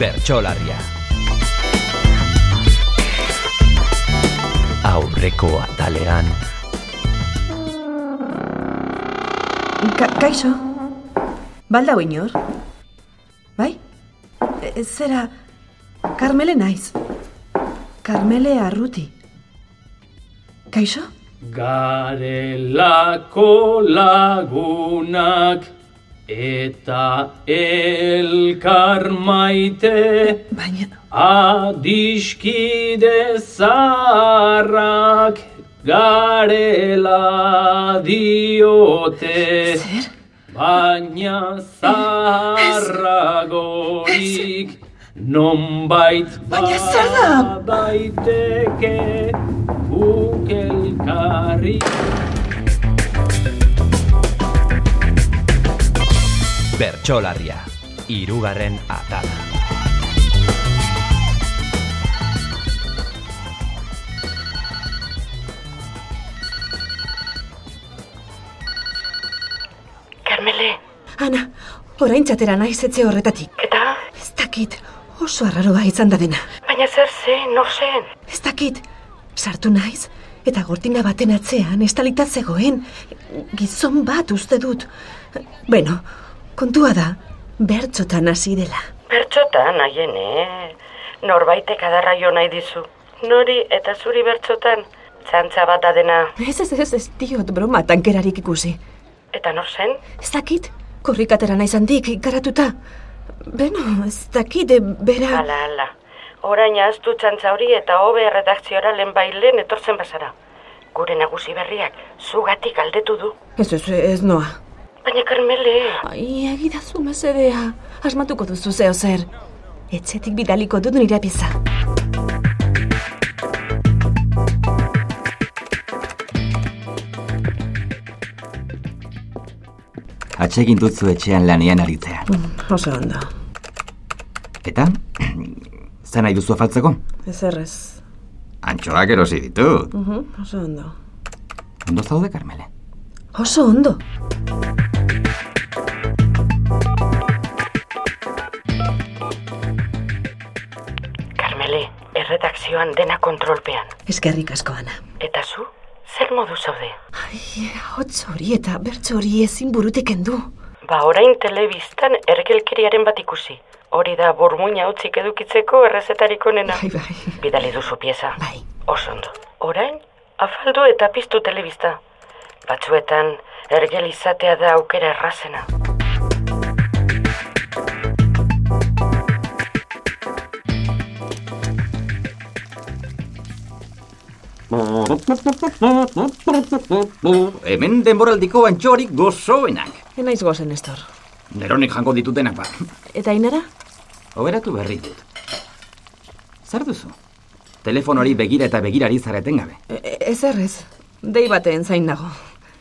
bertsolarria. Aurreko atalean Ka kaixo. Baldau inor? Bai? E, e, zera, Karmele naiz. Karmele arruti. Kaixo? Garelako lagunak eta elkar maite Baina, adiskide zaharrak garela diote zer? baina zaharragorik nonbait ba Baina zer da? daiteke guk elkarri bertsolarria. Hirugarren atala. Karmele, Ana, orain txatera naiz etxe horretatik. eta? Ez dakit, oso arraroa izan da dena. Baina zer zen, nor zen? Ez dakit, sartu naiz, eta gortina baten atzean estalita zegoen, gizon bat uste dut. Bueno, kontua da, bertxotan hasi dela. Bertxotan, haien, eh? Norbaitek adarraio nahi dizu. Nori eta zuri bertxotan, txantza bat da dena. Ez ez ez ez diot broma tankerarik ikusi. Eta nor zen? Ez dakit, korrikatera naiz handik, garatuta. Beno, ez dakit, eh, bera... Ala, ala. Orain ahaztu txantza hori eta hobe erredakziora lehen bai lehen etortzen bazara. Gure nagusi berriak, zugatik aldetu du. Ez ez ez noa. Baina Karmele, Ai, egidazu mesedea. Asmatuko duzu zeo zer. Etxetik bidaliko dut nire pieza. Atsegin dutzu etxean lanean aritzea. Mm, Oso ondo. Eta, zer nahi duzu afaltzeko? Ez errez. Antxoak erosi ditut. Oso ondo. Ondo zaude, Karmele? Oso ondo. Karmele, erredakzioan dena kontrolpean. Eskerrik asko, Ana. Eta zu, zer modu zaude? Ai, hotz hori eta bertso hori ezin burutik kendu. Ba, orain telebistan ergelkeriaren bat ikusi. Hori da burmuina utzik edukitzeko errezetariko nena. Bai, bai. Bidali duzu pieza. Bai. Oso ondo. Orain, afaldu eta piztu telebista. Batzuetan, ergel izatea da aukera errazena. Hemen denboraldiko antxorik gozoenak. Enaiz gozen, Estor. Neronek jango ditutenak ba. Eta inara? Oberatu berri dut. Zer duzu? Telefonori begira eta begirari zareten gabe. E ez errez. Dei baten zain nago.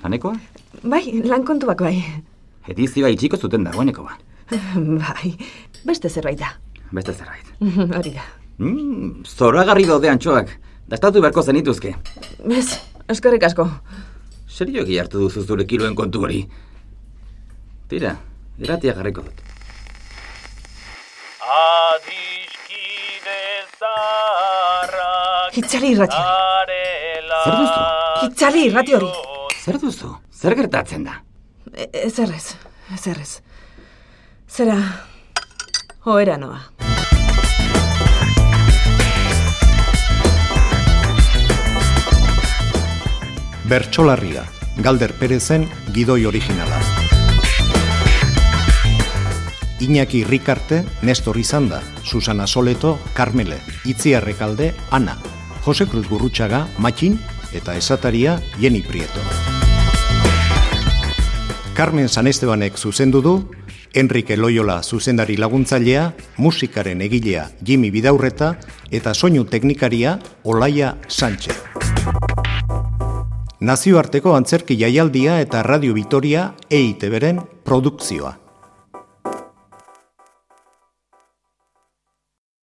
Hanekoa? Bai, lan kontuak bai. Edizioa itxiko zuten dagoenekoa. Bai, beste zerbait da. Beste zerbait. Hori da. Mm, zoragarri daude antxoak. Dastatu beharko zenituzke. Ez, eskerrik asko. Serioki hartu duzu zure kiloen kontu hori. Tira, iratia jarriko dut. adiskide zaharrak Itzali irratia. garela Zer duzu? Itzali irrati hori. Zer duzu? Zer gertatzen da? E- Ez errez, ez errez. Zera, joera noa. Bertsolarria, Galder Perezen gidoi originala. Iñaki Rikarte, Nestor Izanda, Susana Soleto, Carmele, Itziar Rekalde, Ana, Jose Cruz Gurrutxaga, Matxin, eta esataria Jenny Prieto. Carmen San Estebanek zuzendu du, Enrique Loyola zuzendari laguntzailea, musikaren egilea Jimmy Bidaurreta eta soinu teknikaria Olaia Sánchez. E Nazioarteko antzerki jaialdia eta Radio Vitoria EITB-ren produkzioa.